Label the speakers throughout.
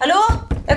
Speaker 1: Hallo? Jeg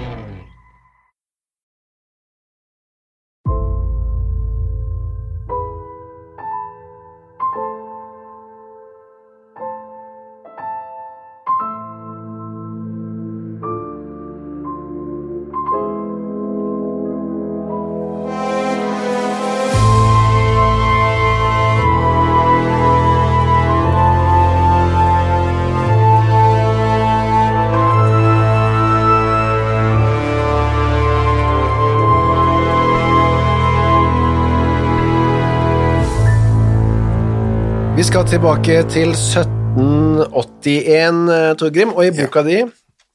Speaker 2: Vi skal tilbake til 1781, eh, Torgrim, og i boka di,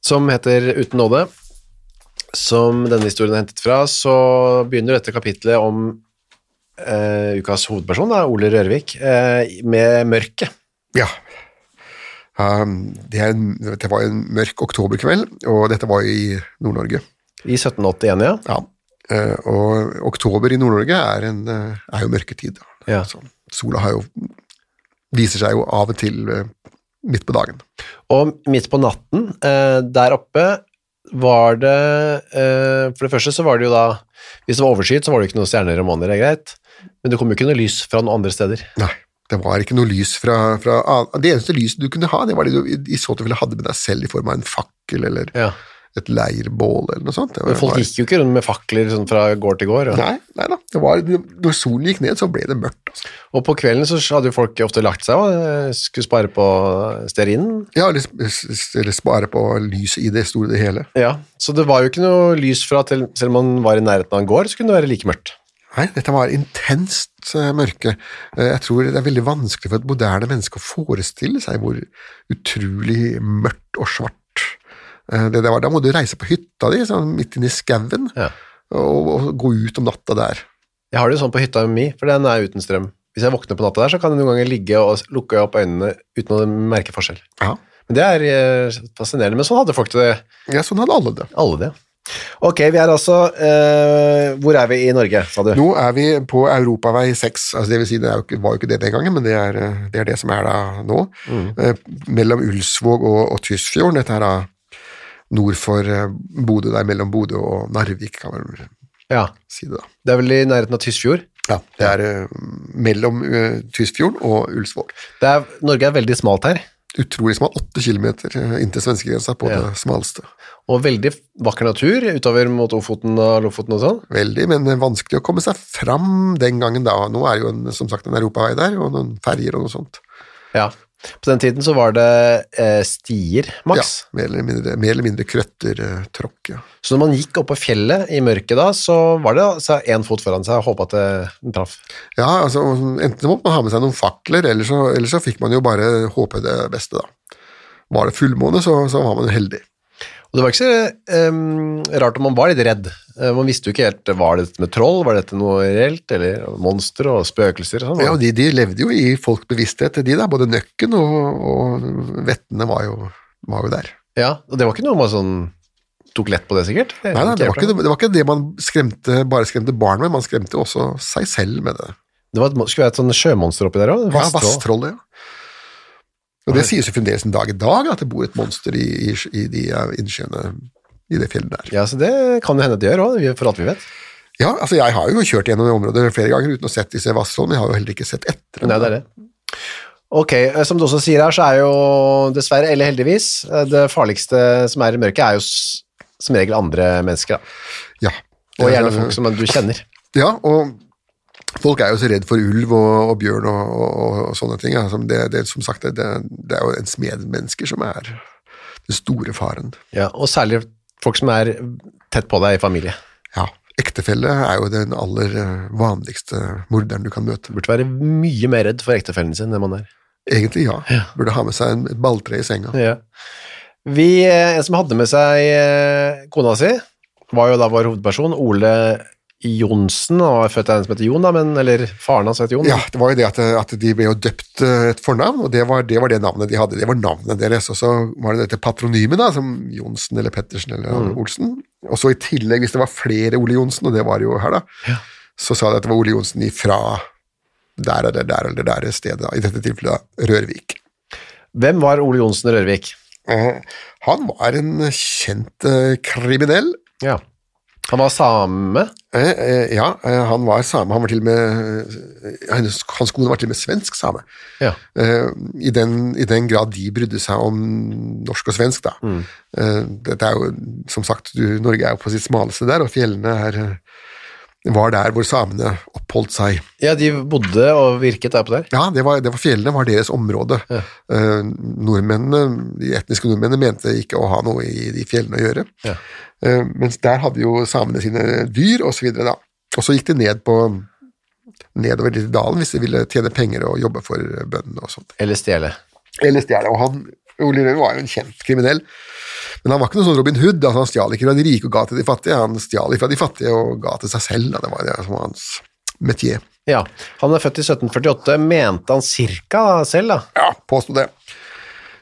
Speaker 2: som heter Uten nåde, som denne historien er hentet fra, så begynner dette kapitlet om eh, ukas hovedperson, da, Ole Rørvik, eh, med mørket.
Speaker 3: Ja. Um, det, er en, det var en mørk oktoberkveld, og dette var i Nord-Norge.
Speaker 2: I 1781, ja.
Speaker 3: Ja. Eh, og oktober i Nord-Norge er, en, eh, er jo mørketid. da.
Speaker 2: Ja.
Speaker 3: Altså, sola har jo, viser seg jo av og til eh, midt på dagen.
Speaker 2: Og midt på natten, eh, der oppe, var det eh, For det første så var det jo da Hvis det var overskyet, så var det jo ikke noen stjerner og måner, det er greit. Men det kom jo ikke noe lys fra noen andre steder.
Speaker 3: Nei, det var ikke noe lys fra, fra an- Det eneste lyset du kunne ha, det var det du i, i så tilfelle hadde med deg selv i form av en fakkel eller
Speaker 2: Ja.
Speaker 3: et leirbål eller noe sånt. Det var-
Speaker 2: Men folk
Speaker 3: var-
Speaker 2: gikk jo ikke rundt med fakler sånn fra gård til gård. Og,
Speaker 3: Nei, nei da. Det var, når solen gikk ned, så ble det mørkt. Altså.
Speaker 2: og på kvelden så hadde jo folk ofte lagt seg og eh, skulle spare på stearinen.
Speaker 3: Ja, eller, eller spare på lyset i det store og det hele.
Speaker 2: Ja, så det var jo ikke noe lys fra til, selv om man var i nærheten av en gård, så kunne det være like mørkt.
Speaker 3: Nei, dette var intenst eh, mørke. Eh, Jeg tror det er veldig vanskelig for et moderne menneske å forestille seg hvor utrolig mørkt og svart eh, det det var. Da må du reise på hytta di, sånn midt inne i skauen,
Speaker 2: Ja.
Speaker 3: og, og gå ut om natta der.
Speaker 2: Jeg har det jo sånn på hytta mi, for den er uten strøm. Hvis jeg våkner på natta der, så kan jeg noen ganger ligge og s- lukke opp øynene uten å merke forskjell.
Speaker 3: Ja.
Speaker 2: Men det er eh, fascinerende, men sånn hadde folk det,
Speaker 3: ja, sånn hadde alle det.
Speaker 2: alle det. Ok, vi er altså, eh, hvor er vi i Norge, sa du?
Speaker 3: Nå er vi på europavei 6, altså det vil si det er jo ikke, var jo ikke det den gangen, men det er eh, det, er det som er da nå, eh, mellom Ulsvåg og, og Tysfjorden. Dette er da nord for eh, Bodø, der mellom Bodø og Narvik, kan man vel
Speaker 2: Ja,
Speaker 3: si det da.
Speaker 2: det er vel i nærheten av Tysfjord.
Speaker 3: Ja, det er eh, mellom eh, Tysfjorden og Ulsvåg.
Speaker 2: Det er, Norge er veldig smalt her,
Speaker 3: Utrolig smal, åtte kilometer eh, inntil svenskegrensa på
Speaker 2: Ja.
Speaker 3: det smaleste.
Speaker 2: og veldig vakker natur utover mot Ofoten og Lofoten og sånn.
Speaker 3: Veldig, men eh, vanskelig å komme seg fram den gangen da. Nå er det jo en, som sagt en europavei der, og noen ferger og noe sånt.
Speaker 2: Ja, på den tiden så var det eh, stier, maks.
Speaker 3: Ja, mer eller mindre, mer eller mindre krøtter eh, tråkk, ja.
Speaker 2: Så når man gikk opp på fjellet i mørket da, så var det altså en fot foran seg og håpet at det- den traff.
Speaker 3: Ja, altså enten så måtte man ha med seg noen fakler, eller så, eller så fikk man jo bare håpe det beste da. Var det fullmåne, så, så var man heldig.
Speaker 2: Og det var ikke så ehm, rart om man var litt redd. Eh, man visste jo ikke helt, var det dette med troll, var dette noe reelt, eller monster og spøkelser og sånn.
Speaker 3: Ja, og de, de levde jo i folks bevissthet, de da, både nøkken og, og vettene var jo, var jo der.
Speaker 2: Ja, og det var ikke noe man sånn tok lett på det sikkert.
Speaker 3: Nei, nei, det var ikke det, det, var ikke det man skremte, bare skremte barn med, man skremte også seg selv med det.
Speaker 2: Det var, et- skulle være et sånn sjømonster oppi der også,
Speaker 3: Ja,
Speaker 2: vasstroll.
Speaker 3: vasstroll, ja. Og det sies jo fremdeles en dag i dag, at det bor et monster i, i, i de eh, innsjøene i det fjellet der.
Speaker 2: Ja, så det kan jo hende at det gjør også, for alt vi vet.
Speaker 3: Ja, altså jeg har jo kjørt gjennom det området flere ganger uten å sett disse vassrollene, men jeg har jo heller ikke sett etter dem.
Speaker 2: Nei, det er det. Ok, eh, som du også sier her, så er jo dessverre, eller heldigvis, eh, det farligste som er i mørket er jo s- som regel andre mennesker. Da.
Speaker 3: Ja,
Speaker 2: Og
Speaker 3: Ja,
Speaker 2: gjerne
Speaker 3: det-
Speaker 2: folk som du kjenner.
Speaker 3: Ja, og folk er jo så redd for ulv og, og bjørn og, og, og sånne ting. Altså, det, det, som sagt, det, det er jo ens medmennesker som er den store faren.
Speaker 2: Ja, og særlig folk som er tett på deg i familie.
Speaker 3: Ja, ektefelle er jo den aller eh, vanligste morderen du kan møte.
Speaker 2: Burde være mye mer redd for ektefellen sin enn man er.
Speaker 3: Egentlig ja, burde ha med seg en, et balltre i senga.
Speaker 2: Ja. Vi, eh, en som hadde med seg eh, kona si, var jo da vår hovedperson, Ole Jonsen, han var født av en som heter Jon, da, men, eller faren hans heter Jon.
Speaker 3: Ja, det var jo det at, at de ble jo døpt eh, et fornavn, og det var, det var det navnet de hadde. Det var navnet deres, og så var det dette patronymet, da, som Johnsen eller Pettersen eller Olsen. Og så i tillegg, hvis det var flere Ole Johnsen, og det var det jo her, da, så sa de at det var Ole Johnsen ifra der eller der eller der stedet, da, i dette tilfellet da, Rørvik.
Speaker 2: Hvem var Ole Jonsen Rørvik?
Speaker 3: Eh, Han var en kjent eh, kriminell.
Speaker 2: Ja. Han var same,
Speaker 3: Eh, eh, Ja, eh, han var same. Han var til og med, eh, hans hans kone var til og med svensk same.
Speaker 2: ja.
Speaker 3: Eh, i, den, I den grad de brydde seg om norsk og svensk, da. Eh, dette er jo, som sagt, du, Norge er jo på sitt smaleste der, og fjellene er, eh, var der hvor samene oppholdt seg.
Speaker 2: Ja, de bodde og virket der på der.
Speaker 3: Ja, det var, det var fjellene var deres område. Eh, nordmennene, De etniske nordmennene mente ikke å ha noe i de fjellene å gjøre. Eh, mens der hadde jo samene sine dyr og så videre da. Og så gikk de ned på nedover litt i dalen hvis de ville tjene penger og jobbe for bøndene og sånt.
Speaker 2: Eller stjele.
Speaker 3: Eller stjele. Og han, Ole Røe var jo en kjent kriminell, men han var ikke noen sånn Robin Hood. Altså, han stjal ikke fra de rike og ga til de fattige, han stjal fra de fattige og ga til seg selv. Da. Det var det som var hans metier.
Speaker 2: Ja. Han er født i 1748, mente han cirka da, selv, da.
Speaker 3: Ja, påstå det.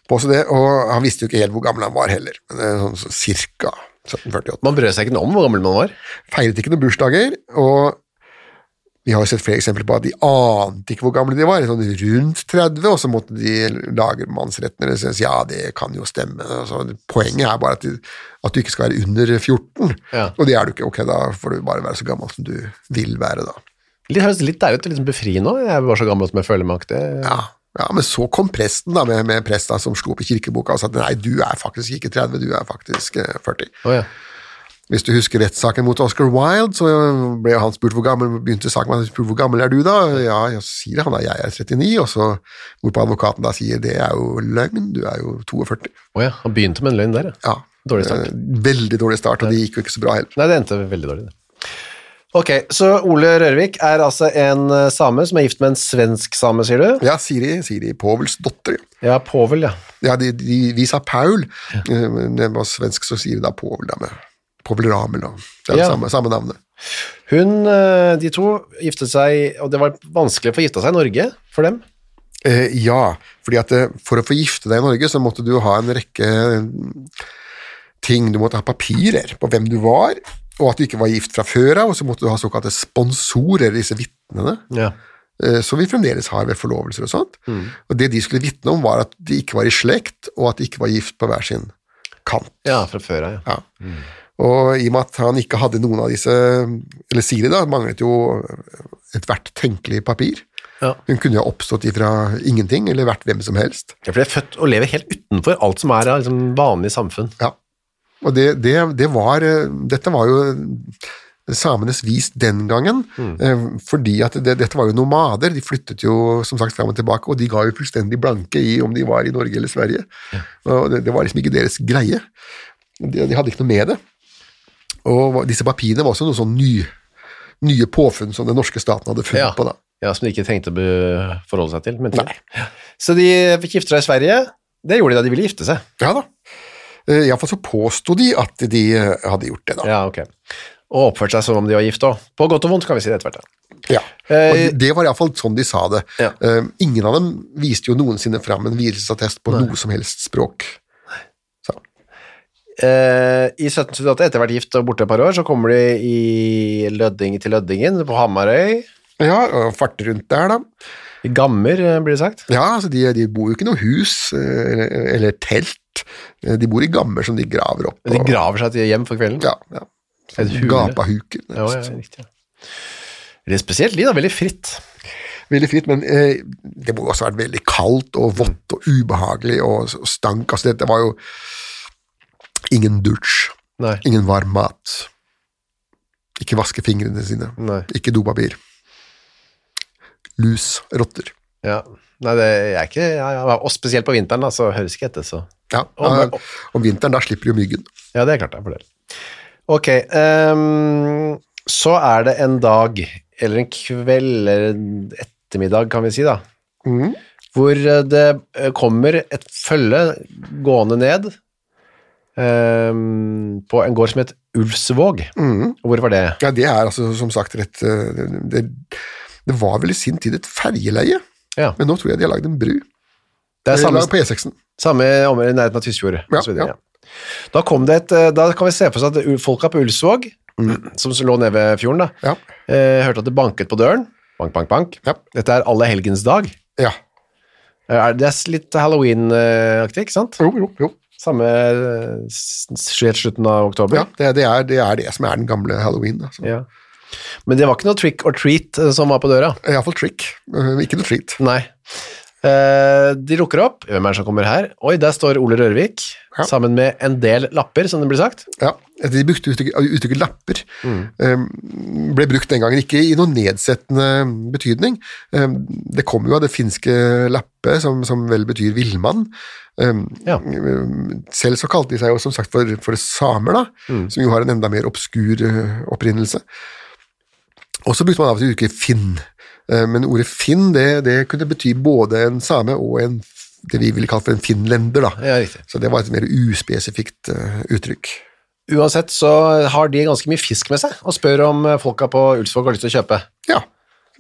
Speaker 3: Påstå det, og han visste jo ikke helt hvor gammel han var heller, men eh, sånn så cirka 1748.
Speaker 2: Man brød seg ikke noe om hvor gammel man var.
Speaker 3: Feiret ikke noen bursdager, og vi har jo sett flere eksempler på at de ante ikke hvor gamle de var, sånn rundt 30, og så måtte de lage mannsretten og synes, ja, det kan jo stemme. og så- poenget er bare at, de, at du ikke skal være under 14,
Speaker 2: Ja.
Speaker 3: og det er du ikke. Ok, da får du bare være så gammel som du vil være, da.
Speaker 2: Litt, det høres litt deilig ut å liksom befri nå. Jeg er bare så gammel som jeg føler meg aktig.
Speaker 3: Ja, ja men så kom presten da, med, med presta som slo opp i kirkeboka og sa at nei, du er faktisk ikke 30, du er faktisk eh, 40.
Speaker 2: Å, ja.
Speaker 3: Hvis du husker rettssaken mot Oscar Wilde, så ble han spurt hvor gammel, begynte saken med at han spurte, hvor gammel er du da? Ja, jeg sier han da, jeg er 39, og så hvorpå advokaten da sier det er jo løgn, du er jo 42.
Speaker 2: Å ja, han begynte med en løgn der,
Speaker 3: Ja.
Speaker 2: Dårlig start.
Speaker 3: Eh, Veldig dårlig start, og det gikk jo ikke så bra heller.
Speaker 2: Nei, det endte veldig dårlig, det. Ok, så Ole Rørvik er altså en eh, same som er gift med en svensk same, sier du?
Speaker 3: Ja, Siri, Siri Povels dotter.
Speaker 2: Ja, Povel, ja.
Speaker 3: Ja, de, de, vi sa Paul, eh, men det var svensk, så sier de da Povel da med Povel Ramel, og det
Speaker 2: Ja.
Speaker 3: er det samme, samme navnet.
Speaker 2: Hun, eh, de to giftet seg, og det var vanskelig å få gifta seg i Norge for dem.
Speaker 3: Eh, ja, fordi at eh, for å få gifte deg i Norge, så måtte du ha en rekke eh, ting. Du måtte ha papirer på hvem du var, og at du ikke var gift fra før av, og så måtte du ha såkalte sponsorer, disse vitnene,
Speaker 2: Ja.
Speaker 3: eh, som vi fremdeles har ved forlovelser og sånt. Og det de skulle vitne om, var at de ikke var i slekt, og at de ikke var gift på hver sin kant.
Speaker 2: fra før av, ja.
Speaker 3: Ja. Og i og med at han ikke hadde noen av disse, eller Siri da, manglet jo ethvert tenkelig papir.
Speaker 2: Ja.
Speaker 3: Hun kunne jo ha oppstått ifra ingenting, eller vært hvem som helst.
Speaker 2: Ja, for de er født og lever helt utenfor alt som er av liksom, vanlig samfunn.
Speaker 3: Ja. Og det, det, det var eh, Dette var jo eh, samenes vis den gangen, eh, fordi at det, dette var jo nomader. De flyttet jo som sagt fram og tilbake, og de ga jo fullstendig blanke i om de var i Norge eller Sverige. Og det, det var liksom ikke deres greie. De, de hadde ikke noe med det. Og hva- disse papirene var også noen sånn ny, nye påfunn som den norske staten hadde funnet
Speaker 2: Ja.
Speaker 3: på da.
Speaker 2: Ja, Som de ikke trengte å be- forholde seg til. mente du? Ja. Så de fikk gifte seg i Sverige. Det gjorde de da de ville gifte seg.
Speaker 3: Ja da. Eh, Iallfall så påsto de at de eh, hadde gjort det, da.
Speaker 2: Ja, ok. Og oppførte seg som om de var gift òg. På godt og vondt, kan vi si det etter hvert. da.
Speaker 3: Ja,
Speaker 2: Eh,
Speaker 3: og det, det var iallfall sånn de sa det.
Speaker 2: Ja.
Speaker 3: Eh, ingen av dem viste jo noensinne fram en vielsesattest på noe som helst språk.
Speaker 2: Eh, I 1778, etter å ha vært gift og borte et par år, så kommer de i Lødding til Løddingen, på Hamarøy.
Speaker 3: Ja, og farte rundt der, da.
Speaker 2: I Gammer, eh, blir det sagt.
Speaker 3: Ja, altså de, de bor jo ikke i noe hus eh, eller, eller telt. Eh, De bor i gammer som de graver opp.
Speaker 2: De
Speaker 3: og-
Speaker 2: graver seg til hjem for kvelden.
Speaker 3: Ja, ja.
Speaker 2: Et hule.
Speaker 3: Gapahuker.
Speaker 2: Ja, ja, riktig. ja. Litt spesielt liv, da. Veldig fritt.
Speaker 3: Veldig fritt, men eh, det må jo også ha vært veldig kaldt og vått og ubehagelig og, og stank. Altså dette var jo ingen dusj,
Speaker 2: Nei.
Speaker 3: ingen varm mat. Ikke vaske fingrene sine.
Speaker 2: Nei.
Speaker 3: Ikke dopapir. Lus. Rotter.
Speaker 2: Ja. Nei, det er ikke ja, ja. Og spesielt på vinteren, da, så høres ikke etter, så
Speaker 3: Ja,
Speaker 2: Om-
Speaker 3: da- Om vinteren, da slipper jo myggen.
Speaker 2: Ja, det er klart det er en fordel. Ok, ehm, så er det en dag, eller en kveld, eller en ettermiddag, kan vi si, da, hvor eh, det eh, kommer et følge gående ned ehm, på en gård som heter Ulfsvåg. Og hvor var det?
Speaker 3: Mm. Ja, det er altså som sagt rett eh, Det, det var vel i sin tid et ferjeleie,
Speaker 2: Ja,
Speaker 3: men nå tror jeg de har lagd en bru.
Speaker 2: det er
Speaker 3: Det er
Speaker 2: samme,
Speaker 3: laget på E6-en.
Speaker 2: samme område i nærheten av Tysfjord. og
Speaker 3: Ja,
Speaker 2: så videre,
Speaker 3: ja.
Speaker 2: ja. Da, kom det et, eh, da kan vi se for oss at u- folka på Ulfsvåg, som lå nede ved fjorden, da,
Speaker 3: Mm. Ja.
Speaker 2: eh, hørte at det banket på døren. Bank, bank, bank.
Speaker 3: Ja.
Speaker 2: Dette er alle helgens dag. Eh,
Speaker 3: ja.
Speaker 2: Er det er litt Halloween-aktig, ikke sant?
Speaker 3: Jo, jo, jo.
Speaker 2: Samme eh, s- s- helt slutten av oktober.
Speaker 3: Ja, det, det, er, det er det som er den gamle halloween. Altså.
Speaker 2: Ja. Men det var ikke noe trick or treat eh, som var på døra.
Speaker 3: Iallfall trick. Eh, Ikke noe treat.
Speaker 2: Nei. Eh, De lukker opp. Hvem er det som kommer her? Oi, der står Ole Rørvik
Speaker 3: Ja.
Speaker 2: sammen med en del lapper, som det blir sagt.
Speaker 3: Ja, De brukte uttrykket, uttrykket lapper.
Speaker 2: Mm.
Speaker 3: eh, Ble brukt den gangen, ikke i noen nedsettende betydning. Eh, Det kommer jo av det finske lappe, som, som vel betyr villmann. Eh,
Speaker 2: Ja.
Speaker 3: Eh, Selv så kalte de seg jo som sagt for, for samer, da,
Speaker 2: Mm.
Speaker 3: som jo har en enda mer obskur eh, opprinnelse. Og så brukte man av og til uttrykket finn, Eh, men ordet finn det, det kunne bety både en same og en, det vi ville kalt for en finlender. da.
Speaker 2: Ja, riktig.
Speaker 3: Så det var et mer uspesifikt eh, uttrykk.
Speaker 2: Uansett så har de ganske mye fisk med seg, og spør om eh, folka på Ulsvåg har lyst til å kjøpe.
Speaker 3: Ja.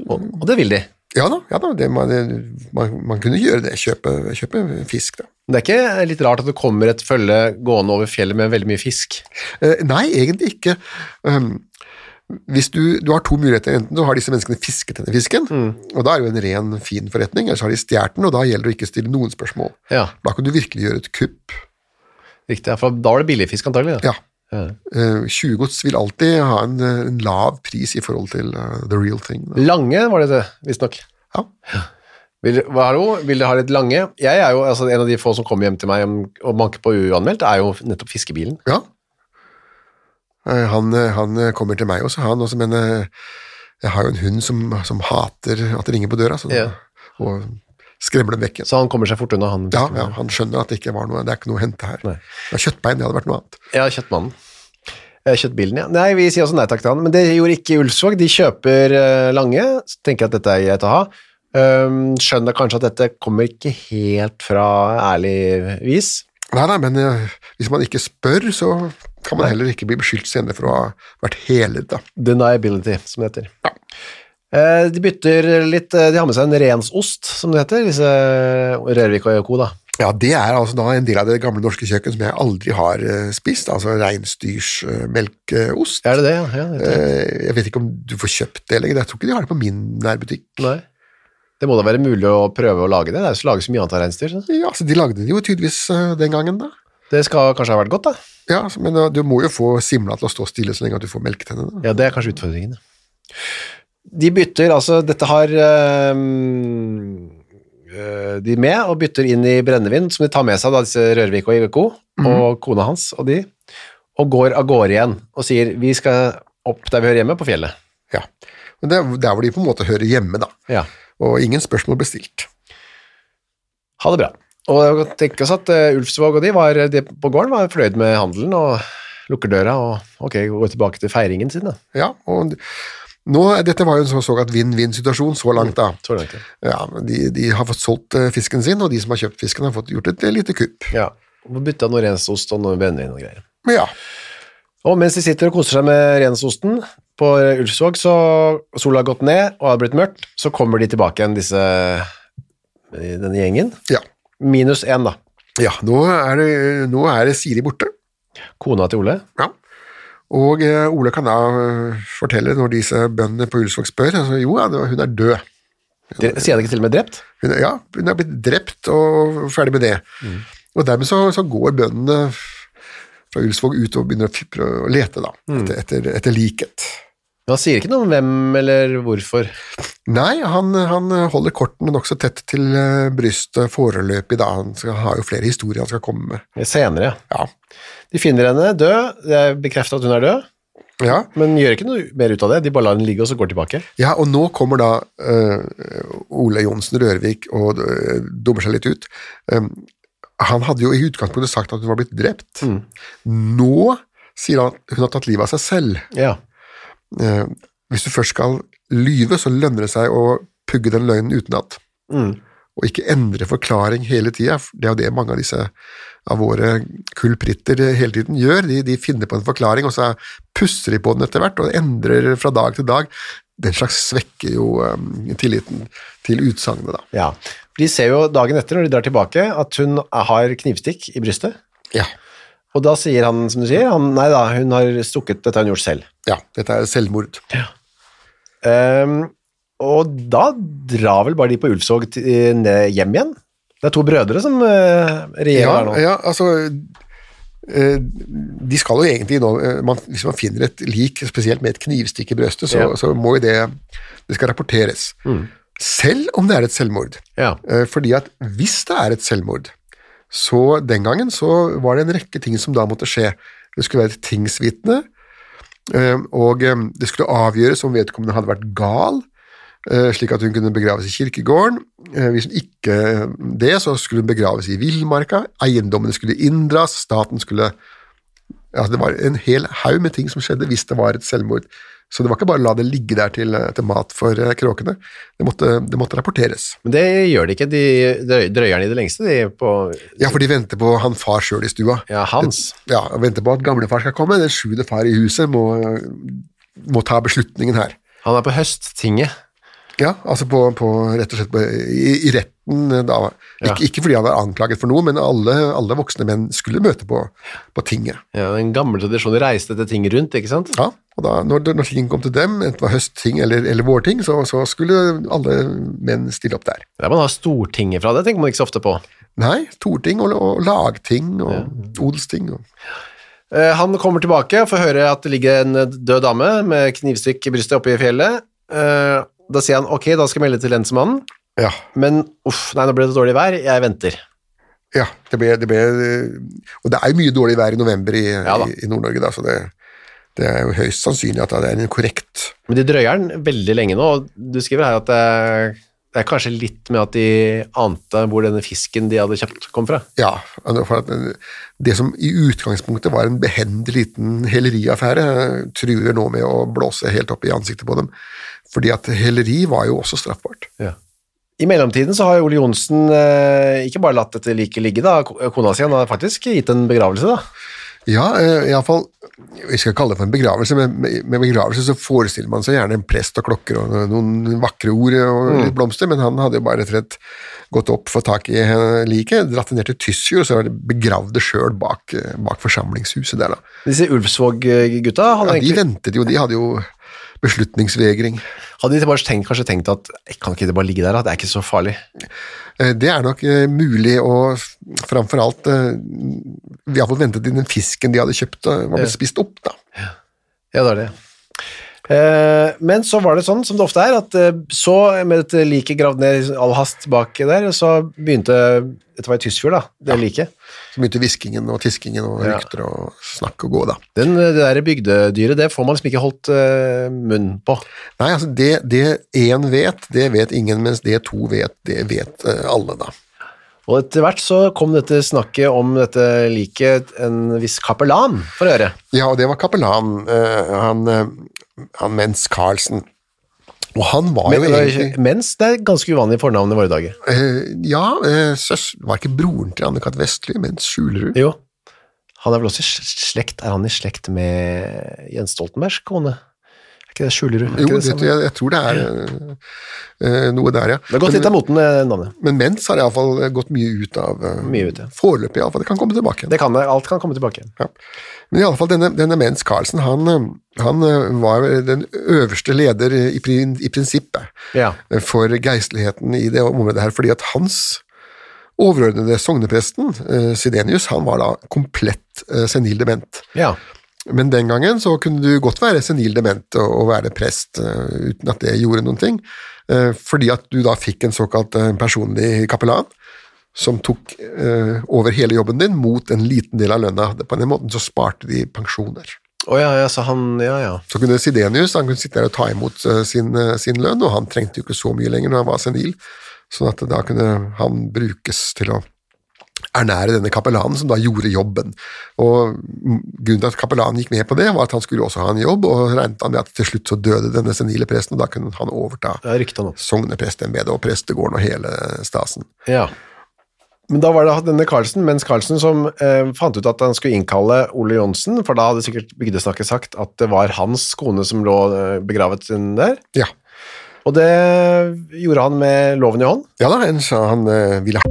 Speaker 2: Og, og det vil de.
Speaker 3: Ja da, ja da det, man, det, man, man kunne gjøre det. Kjøpe, kjøpe fisk, da.
Speaker 2: Men det er ikke litt rart at det kommer et følge gående over fjellet med veldig mye fisk.
Speaker 3: Eh, nei, egentlig ikke. Um, hvis du, du har to muligheter, enten så har disse menneskene fisket denne fisken, og da er det jo en ren, fin forretning, eller så har de stjålet den, og da gjelder det å ikke stille noen spørsmål.
Speaker 2: Ja,
Speaker 3: Da kan du virkelig gjøre et kupp.
Speaker 2: riktig. Ja, For da var det billigfisk antagelig. Da.
Speaker 3: Ja. Uh, Tjuvgods vil alltid ha en, eh, en lav pris i forhold til eh, the real thing. Da.
Speaker 2: Lange var det det, visstnok.
Speaker 3: Ja.
Speaker 2: Vil, hva er det, vil du ha litt lange? Jeg er jo altså, en av de få som kommer hjem til meg om- og banker på uanmeldt, er jo nettopp fiskebilen.
Speaker 3: Ja. Eh, Han, eh, han eh, kommer til meg også, han også, men eh, jeg har jo en hund som, som hater at det ringer på døra, så,
Speaker 2: Ja.
Speaker 3: og skremmer dem vekk igjen.
Speaker 2: Så han kommer seg fort unna, han.
Speaker 3: Ja, ja, han skjønner at det ikke var noe, det er ikke noe å hente her.
Speaker 2: Nei.
Speaker 3: Det er kjøttbein, det hadde vært noe annet.
Speaker 2: Ja, kjøttmannen. Eh, Kjøttbilen, ja. Nei, vi sier også nei takk til han, men det gjorde ikke Ulsvåg. De kjøper eh, lange, så tenker jeg at dette er greit å ha. Um, skjønner kanskje at dette kommer ikke helt fra ærlig vis.
Speaker 3: Nei, nei, men eh, hvis man ikke spør, så kan man heller ikke bli beskyldt senere for å ha vært helet, da.
Speaker 2: Deniability, som det heter. Eh, De bytter litt, eh, de har med seg en rensost, som det heter, disse eh, Rørvik og Co. da.
Speaker 3: Ja, det er altså da en del av det gamle norske kjøkken som jeg aldri har eh, spist, altså reinsdyrsmelkeost.
Speaker 2: Er det det? ja? Ja, det heter det.
Speaker 3: Eh, Jeg vet ikke om du får kjøpt det lenger, jeg tror ikke de har det på min nærbutikk.
Speaker 2: Nei. Det må da være mulig å prøve å lage det? Det er jo så lages mye annet av reinsdyr. så.
Speaker 3: Ja, altså De lagde det jo tydeligvis eh, den gangen, da.
Speaker 2: Det skal kanskje ha vært godt, da?
Speaker 3: Ja, altså, Men eh, du må jo få simla til å stå stille så lenge at du får melketennene.
Speaker 2: Ja, det er kanskje utfordringen. De bytter altså Dette har øhm, øh, de med, og bytter inn i brennevin, som de tar med seg, da, disse Rørvik og Iveko, og kona hans og de, og går av gårde igjen og sier 'vi skal opp der vi hører hjemme, på fjellet'.
Speaker 3: Ja. Men det er der hvor de på en måte hører hjemme, da.
Speaker 2: Ja.
Speaker 3: Og ingen spørsmål ble stilt.
Speaker 2: Ha det bra. Og jeg kan tenke oss at eh, Ulfsvåg og de, var, de på gården var fornøyd med handelen og lukker døra og ok, går tilbake til feiringen sin. da.
Speaker 3: Ja, og nå, Dette var jo en så- såkalt vinn-vinn-situasjon så langt, da.
Speaker 2: Så langt, ja.
Speaker 3: Ja, men de, de har fått solgt eh, fisken sin, og de som har kjøpt fisken, har fått gjort et lite kupp.
Speaker 2: Ja. Og bytta noe rensost og noe brennevin og greier.
Speaker 3: Men ja,
Speaker 2: Og mens de sitter og koser seg med rensosten på Ulfsvåg, så sola har gått ned og det har blitt mørkt, så kommer de tilbake igjen, disse denne gjengen.
Speaker 3: ja.
Speaker 2: Minus én, da.
Speaker 3: ja nå, er det, nå er det Siri borte.
Speaker 2: Kona til Ole.
Speaker 3: Ja. Og eh, Ole kan da eh, fortelle, når disse bøndene på Ulsvåg spør, altså, jo, ja, det var- hun er død.
Speaker 2: De, sier de ikke til og med drept?
Speaker 3: Hun er, ja, hun er blitt drept og ferdig med det. Og dermed så, så går bøndene fra Ulsvåg ut og begynner å, f- prøve å lete da, etter, etter, etter liket.
Speaker 2: Men han sier ikke noe om hvem eller hvorfor.
Speaker 3: Nei, han, han holder kortene nokså tett til eh, brystet foreløpig, da. Han skal, har jo flere historier han skal komme med.
Speaker 2: Senere.
Speaker 3: Ja,
Speaker 2: De finner henne død. Det er bekreftet at hun er død.
Speaker 3: Ja,
Speaker 2: Men gjør ikke noe mer ut av det. De bare lar den ligge, og så går tilbake.
Speaker 3: ja og nå kommer da eh, Ole Johnsen Rørvik og eh, dummer seg litt ut. Em, han hadde jo i utgangspunktet sagt at hun var blitt drept. Nå sier han at hun har tatt livet av seg selv.
Speaker 2: Ja.
Speaker 3: Eh, hvis du først skal lyve, så lønner det seg å pugge den løgnen utenat. Og ikke endre forklaring hele tida. Det er jo det mange av disse av våre kulpritter hele tiden gjør. De, de finner på en forklaring, og så pusser de på den etter hvert, og endrer fra dag til dag. Den slags svekker jo eh, tilliten til utsagnet, da.
Speaker 2: ja. De ser jo dagen etter, når de drar tilbake, at hun har knivstikk i brystet.
Speaker 3: Ja.
Speaker 2: Og da sier han, som du sier, han, nei da, hun har stukket, dette har hun gjort selv.
Speaker 3: ja. Dette er selvmord.
Speaker 2: Ehm, og da drar vel bare de på Ulfsvåg til- eh, ned hjem igjen. Det er to brødre som eh, regjerer der nå.
Speaker 3: Ja, ja altså eh, De skal jo egentlig nå eh, man, Hvis man finner et lik, spesielt med et knivstikk i brøstet, så,
Speaker 2: Ja. Mm.
Speaker 3: så må jo det Det skal rapporteres. Selv om det er et selvmord.
Speaker 2: Ja.
Speaker 3: Eh, Fordi at hvis det er et selvmord, så den gangen så var det en rekke ting som da måtte skje. Det skulle være et tingsvitne, eh, og eh, det skulle avgjøres om vedkommende hadde vært gal, eh, slik at hun kunne begraves i kirkegården. Eh, Hvis hun ikke det, så skulle hun begraves i villmarka, eiendommene skulle inndras, staten skulle Altså, det var en hel haug med ting som skjedde hvis det var et selvmord. Så det var ikke bare å la det ligge der til, til mat for eh, kråkene. Det måtte, det måtte rapporteres.
Speaker 2: Men det gjør de ikke, de drøy- drøyer den i det lengste, de på
Speaker 3: Ja, for de venter på han far sjøl i stua.
Speaker 2: ja, Hans.
Speaker 3: Ja, og Venter på at gamlefar skal komme. Den sjuende far i huset må, må ta beslutningen her.
Speaker 2: Han er på høsttinget.
Speaker 3: Ja, altså på, på rett og slett på, i, i retten da.
Speaker 2: Ja.
Speaker 3: Ikke, ikke fordi han er anklaget for noe, men alle, alle voksne menn skulle møte på, på tinget.
Speaker 2: Ja, den gamle tradisjonen reiste dette tinget rundt, ikke sant?
Speaker 3: Ja, og da, når, når ting kom til dem, enten det var høstting eller, eller vårting, så, så skulle alle menn stille opp der.
Speaker 2: Der man har stortinget fra, det tenker man ikke så ofte på.
Speaker 3: Nei, torting og, og lagting og odelsting. Og,
Speaker 2: Eh, Han kommer tilbake og får høre at det ligger en død dame med knivstikk i brystet oppe i fjellet. Eh, Da sier han, ok, da skal jeg melde til lensmannen,
Speaker 3: ja,
Speaker 2: men uff, nei, nå ble det dårlig vær, jeg venter.
Speaker 3: Ja, det ble, det ble Og det er jo mye dårlig vær i november i,
Speaker 2: da.
Speaker 3: i, i Nord-Norge, da, så det, det er jo høyst sannsynlig at det er en korrekt
Speaker 2: Men de drøyer den veldig lenge nå, og du skriver her at det er, det er kanskje litt med at de ante hvor denne fisken de hadde kjøpt kom fra.
Speaker 3: Ja. altså, For at det som i utgangspunktet var en behendig liten heleriaffære, truer nå med å blåse helt opp i ansiktet på dem. Fordi at heleri var jo også straffbart.
Speaker 2: I mellomtiden så har Ole Jonsen eh, ikke bare latt dette like ligge da, ko- eh, kona si, han har faktisk gitt en begravelse da.
Speaker 3: Ja, eh, iallfall Vi skal kalle det for en begravelse, men med med begravelse så forestiller man seg gjerne en prest og klokker og noen vakre ord og
Speaker 2: Mm.
Speaker 3: litt blomster, men han hadde jo bare rett og slett gått opp, fått tak i eh, liket, dratt det ned til Tysfjord og så har de begravd det sjøl bak, eh, bak forsamlingshuset der, da.
Speaker 2: Disse Ulfsvåg-gutta hadde,
Speaker 3: Ja, de
Speaker 2: egentlig-
Speaker 3: ventet jo, de hadde jo beslutningsvegring.
Speaker 2: hadde de bare tenkt, kanskje tenkt at kan ikke det bare ligge der, at det er ikke så farlig.
Speaker 3: Eh, Det er nok eh, mulig, og f- framfor alt eh, Vi har fått ventet til den fisken de hadde kjøpt, eh, var blitt spist opp, da.
Speaker 2: Ja, det er det. Eh, men så var det sånn, som det ofte er, at eh, så med dette liket gravd ned i all hast bak der, så begynte, dette var i Tysfjord da, det liket.
Speaker 3: Så begynte hviskingen og tiskingen og
Speaker 2: Ja.
Speaker 3: rykter og snakk og gå, da.
Speaker 2: Den, eh, det der bygdedyret, det får man liksom ikke holdt eh, munn på.
Speaker 3: Nei, altså det, det én vet, det vet ingen, mens det to vet, det vet eh, alle, da.
Speaker 2: Og etter hvert så kom dette snakket om dette liket en viss kapellan for å høre.
Speaker 3: Ja, og det var kapellan, eh, han, eh, han Mens Carlsen. Og han var
Speaker 2: Men,
Speaker 3: jo egentlig
Speaker 2: mens det er ganske uvanlig fornavn i våre dager.
Speaker 3: eh, Ja, eh, søs, var ikke broren til Anne-Kat. Vestly Mens Skjulerud?
Speaker 2: Jo. Han er vel også i sl- slekt, er han i slekt med Jens Stoltenbergs kone? Er ikke det Skjulerud? Er
Speaker 3: Jo,
Speaker 2: ikke
Speaker 3: det,
Speaker 2: samme?
Speaker 3: jeg, jeg tror det er eh, eh, noe der, ja.
Speaker 2: Det har gått litt av
Speaker 3: men,
Speaker 2: moten, eh, det navnet.
Speaker 3: men Mens har iallfall gått mye ut av eh,
Speaker 2: Mye ut, ja.
Speaker 3: Foreløpig, iallfall. Det kan komme tilbake igjen.
Speaker 2: Det kan, alt kan komme tilbake igjen.
Speaker 3: Ja. Men i alle fall, denne, denne Mens Carlsen, han, eh, han eh, var vel den øverste leder i, prin, i prinsippet
Speaker 2: Ja.
Speaker 3: eh, for geistligheten i det området her, fordi at hans overordnede sognepresten, eh, Sidenius, han var da komplett eh, senil dement.
Speaker 2: ja.
Speaker 3: Men den gangen så kunne du godt være senil dement og, og være prest eh, uten at det gjorde noen ting, eh, fordi at du da fikk en såkalt eh, personlig kapellan som tok eh, over hele jobben din mot en liten del av lønna. På den måten så sparte de pensjoner.
Speaker 2: Å ja, ja, så han Ja, ja.
Speaker 3: Så kunne Sidenius han kunne sitte der og ta imot eh, sin, eh, sin lønn, og han trengte jo ikke så mye lenger når han var senil, sånn at da kunne han brukes til å ernære denne kapellanen, som da gjorde jobben. Og mm, Grunnen til at kapellanen gikk med på det, var at han skulle også ha en jobb, og regnet han med at til slutt så døde denne senile presten, og da kunne han overta
Speaker 2: Jeg rykta han opp.
Speaker 3: sogneprestembedet og prestegården og hele stasen.
Speaker 2: Ja. Men da var det denne Carlsen, mens Carlsen som eh, fant ut at han skulle innkalle Ole Johnsen, for da hadde sikkert Bygdesnakket sagt at det var hans kone som lå eh, begravet inn der.
Speaker 3: Ja.
Speaker 2: Og det gjorde han med loven i hånd.
Speaker 3: Ja da, en sa han eh, ville ha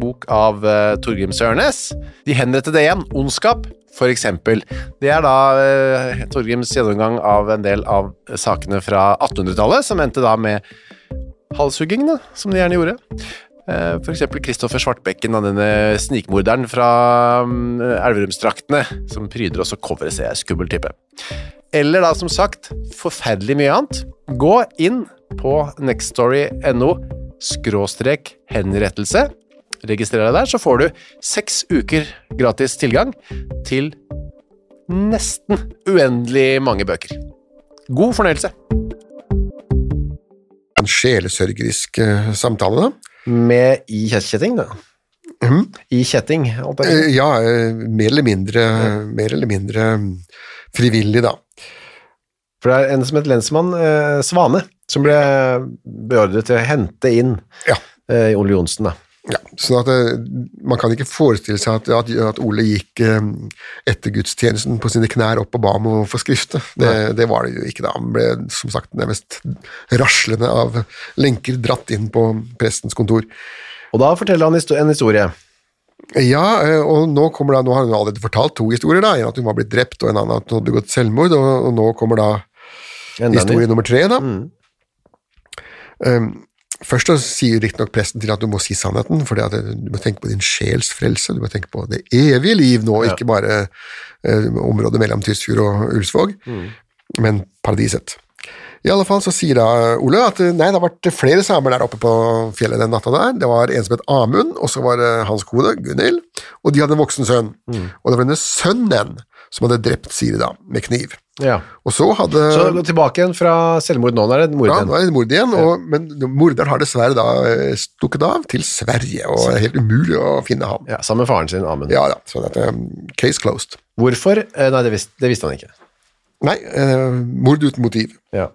Speaker 2: bok av uh, Torgrim Sørnes. De henrettede igjen, Ondskap, for eksempel. Det er da eh, Torgrims gjennomgang av en del av sakene fra 1800-tallet, som endte da med halshugging, da, som de gjerne gjorde. Eh, For eksempel Kristoffer Svartbekken, da, denne snikmorderen fra mm, Elverumsdraktene, som pryder også coveret, ser jeg, skummel type. Eller da, som sagt, forferdelig mye annet. Gå inn på nextstory.no skråstrek henrettelse. Registrer deg der, så får du seks uker gratis tilgang til nesten uendelig mange bøker. God fornøyelse.
Speaker 3: en sjelesørgerisk eh, samtale, da.
Speaker 2: Med i kjetting, da.
Speaker 3: Mhm.
Speaker 2: I kjetting, alt det.
Speaker 3: Eh, Ja, eh, mer eller mindre, mer eller mindre mm, frivillig, da.
Speaker 2: For det er en som het lensmann eh, Svane, som ble beordret til å hente inn
Speaker 3: Ja.
Speaker 2: eh, Ole Johnsen. da.
Speaker 3: Ja, sånn at eh, Man kan ikke forestille seg at, at, at Ole gikk eh, etter gudstjenesten på sine knær opp og ba om å få skrifte. Det, det var det jo ikke da. Han ble som sagt nærmest raslende av lenker dratt inn på prestens kontor.
Speaker 2: Og da forteller han histo- en historie.
Speaker 3: Ja, eh, og nå, kommer da, nå har hun allerede fortalt to historier. da, En at hun var blitt drept, og en annen at hun hadde begått selvmord. Og, og nå kommer da
Speaker 2: Enda en ny.
Speaker 3: historie
Speaker 2: Mm.
Speaker 3: nummer tre, da. Um, først så sier riktignok presten til at du må si sannheten, for du må tenke på din sjels frelse, du må tenke på det evige liv nå, ikke bare eh, området mellom Tysfjord og Ulsvåg,
Speaker 2: Mm.
Speaker 3: men paradiset. I alle fall så sier da Ole at eh, nei, det har vært flere samer der oppe på fjellet den natta der. Det var en som het Amund, og så var det hans kone, Gunhild, og de hadde en voksen sønn.
Speaker 2: Mm.
Speaker 3: Og det var denne sønnen som hadde drept Siri da, med kniv.
Speaker 2: Ja.
Speaker 3: Og så hadde
Speaker 2: Så gå tilbake igjen fra selvmord nå. Da er det mord
Speaker 3: Eh. ja,
Speaker 2: igjen.
Speaker 3: nå er det mord igjen, og, men morderen har dessverre da eh, stukket av til Sverige, og det er helt umulig å finne ham.
Speaker 2: Ja, sammen med faren sin, Amund.
Speaker 3: Ja da, så dette er case closed.
Speaker 2: Hvorfor? Eh, Nei, det visste, det visste han ikke.
Speaker 3: Nei, eh, mord uten motiv.
Speaker 2: Ja.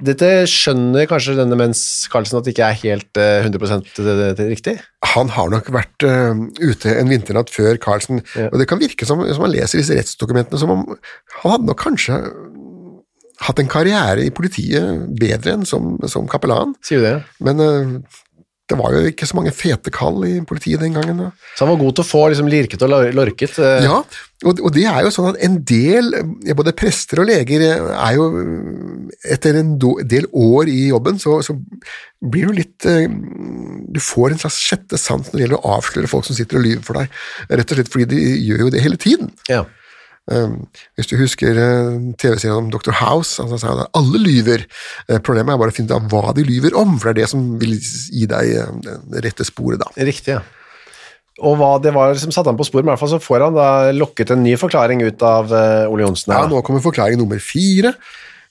Speaker 2: Dette skjønner kanskje denne mens Carlsen at det ikke er helt eh, 100 det- det- det riktig?
Speaker 3: Han har nok vært eh, ute en vinternatt før Carlsen,
Speaker 2: Ja.
Speaker 3: og det kan virke som, som han leser disse rettsdokumentene, som om han hadde nok kanskje hatt en karriere i politiet bedre enn som, som kapellan,
Speaker 2: Sier du det?
Speaker 3: men eh, det var jo ikke så mange fete kall i politiet den gangen. da.
Speaker 2: Så han var god til å få liksom, lirket og lor- lorket. eh,
Speaker 3: Ja, og, og det er jo sånn at en del, eh, både prester og leger, eh, er jo eh, etter en do, del år i jobben, så, så blir du litt eh, Du får en slags sjette sans når det gjelder å avsløre folk som sitter og lyver for deg, rett og slett fordi de gjør jo det hele tiden.
Speaker 2: ja.
Speaker 3: Um, Hvis du husker eh, TV-serien om Dr. House, altså, han sa han at alle lyver. Eh, Problemet er bare å finne ut av hva de lyver om, for det er det som vil gi deg eh, det rette sporet, da.
Speaker 2: Riktig, ja. Og hva det var som satte han på spor, men i hvert fall så får han da lokket en ny forklaring ut av eh, Ole Johnsen.
Speaker 3: Ja,
Speaker 2: her, da.
Speaker 3: nå kommer forklaring nummer fire,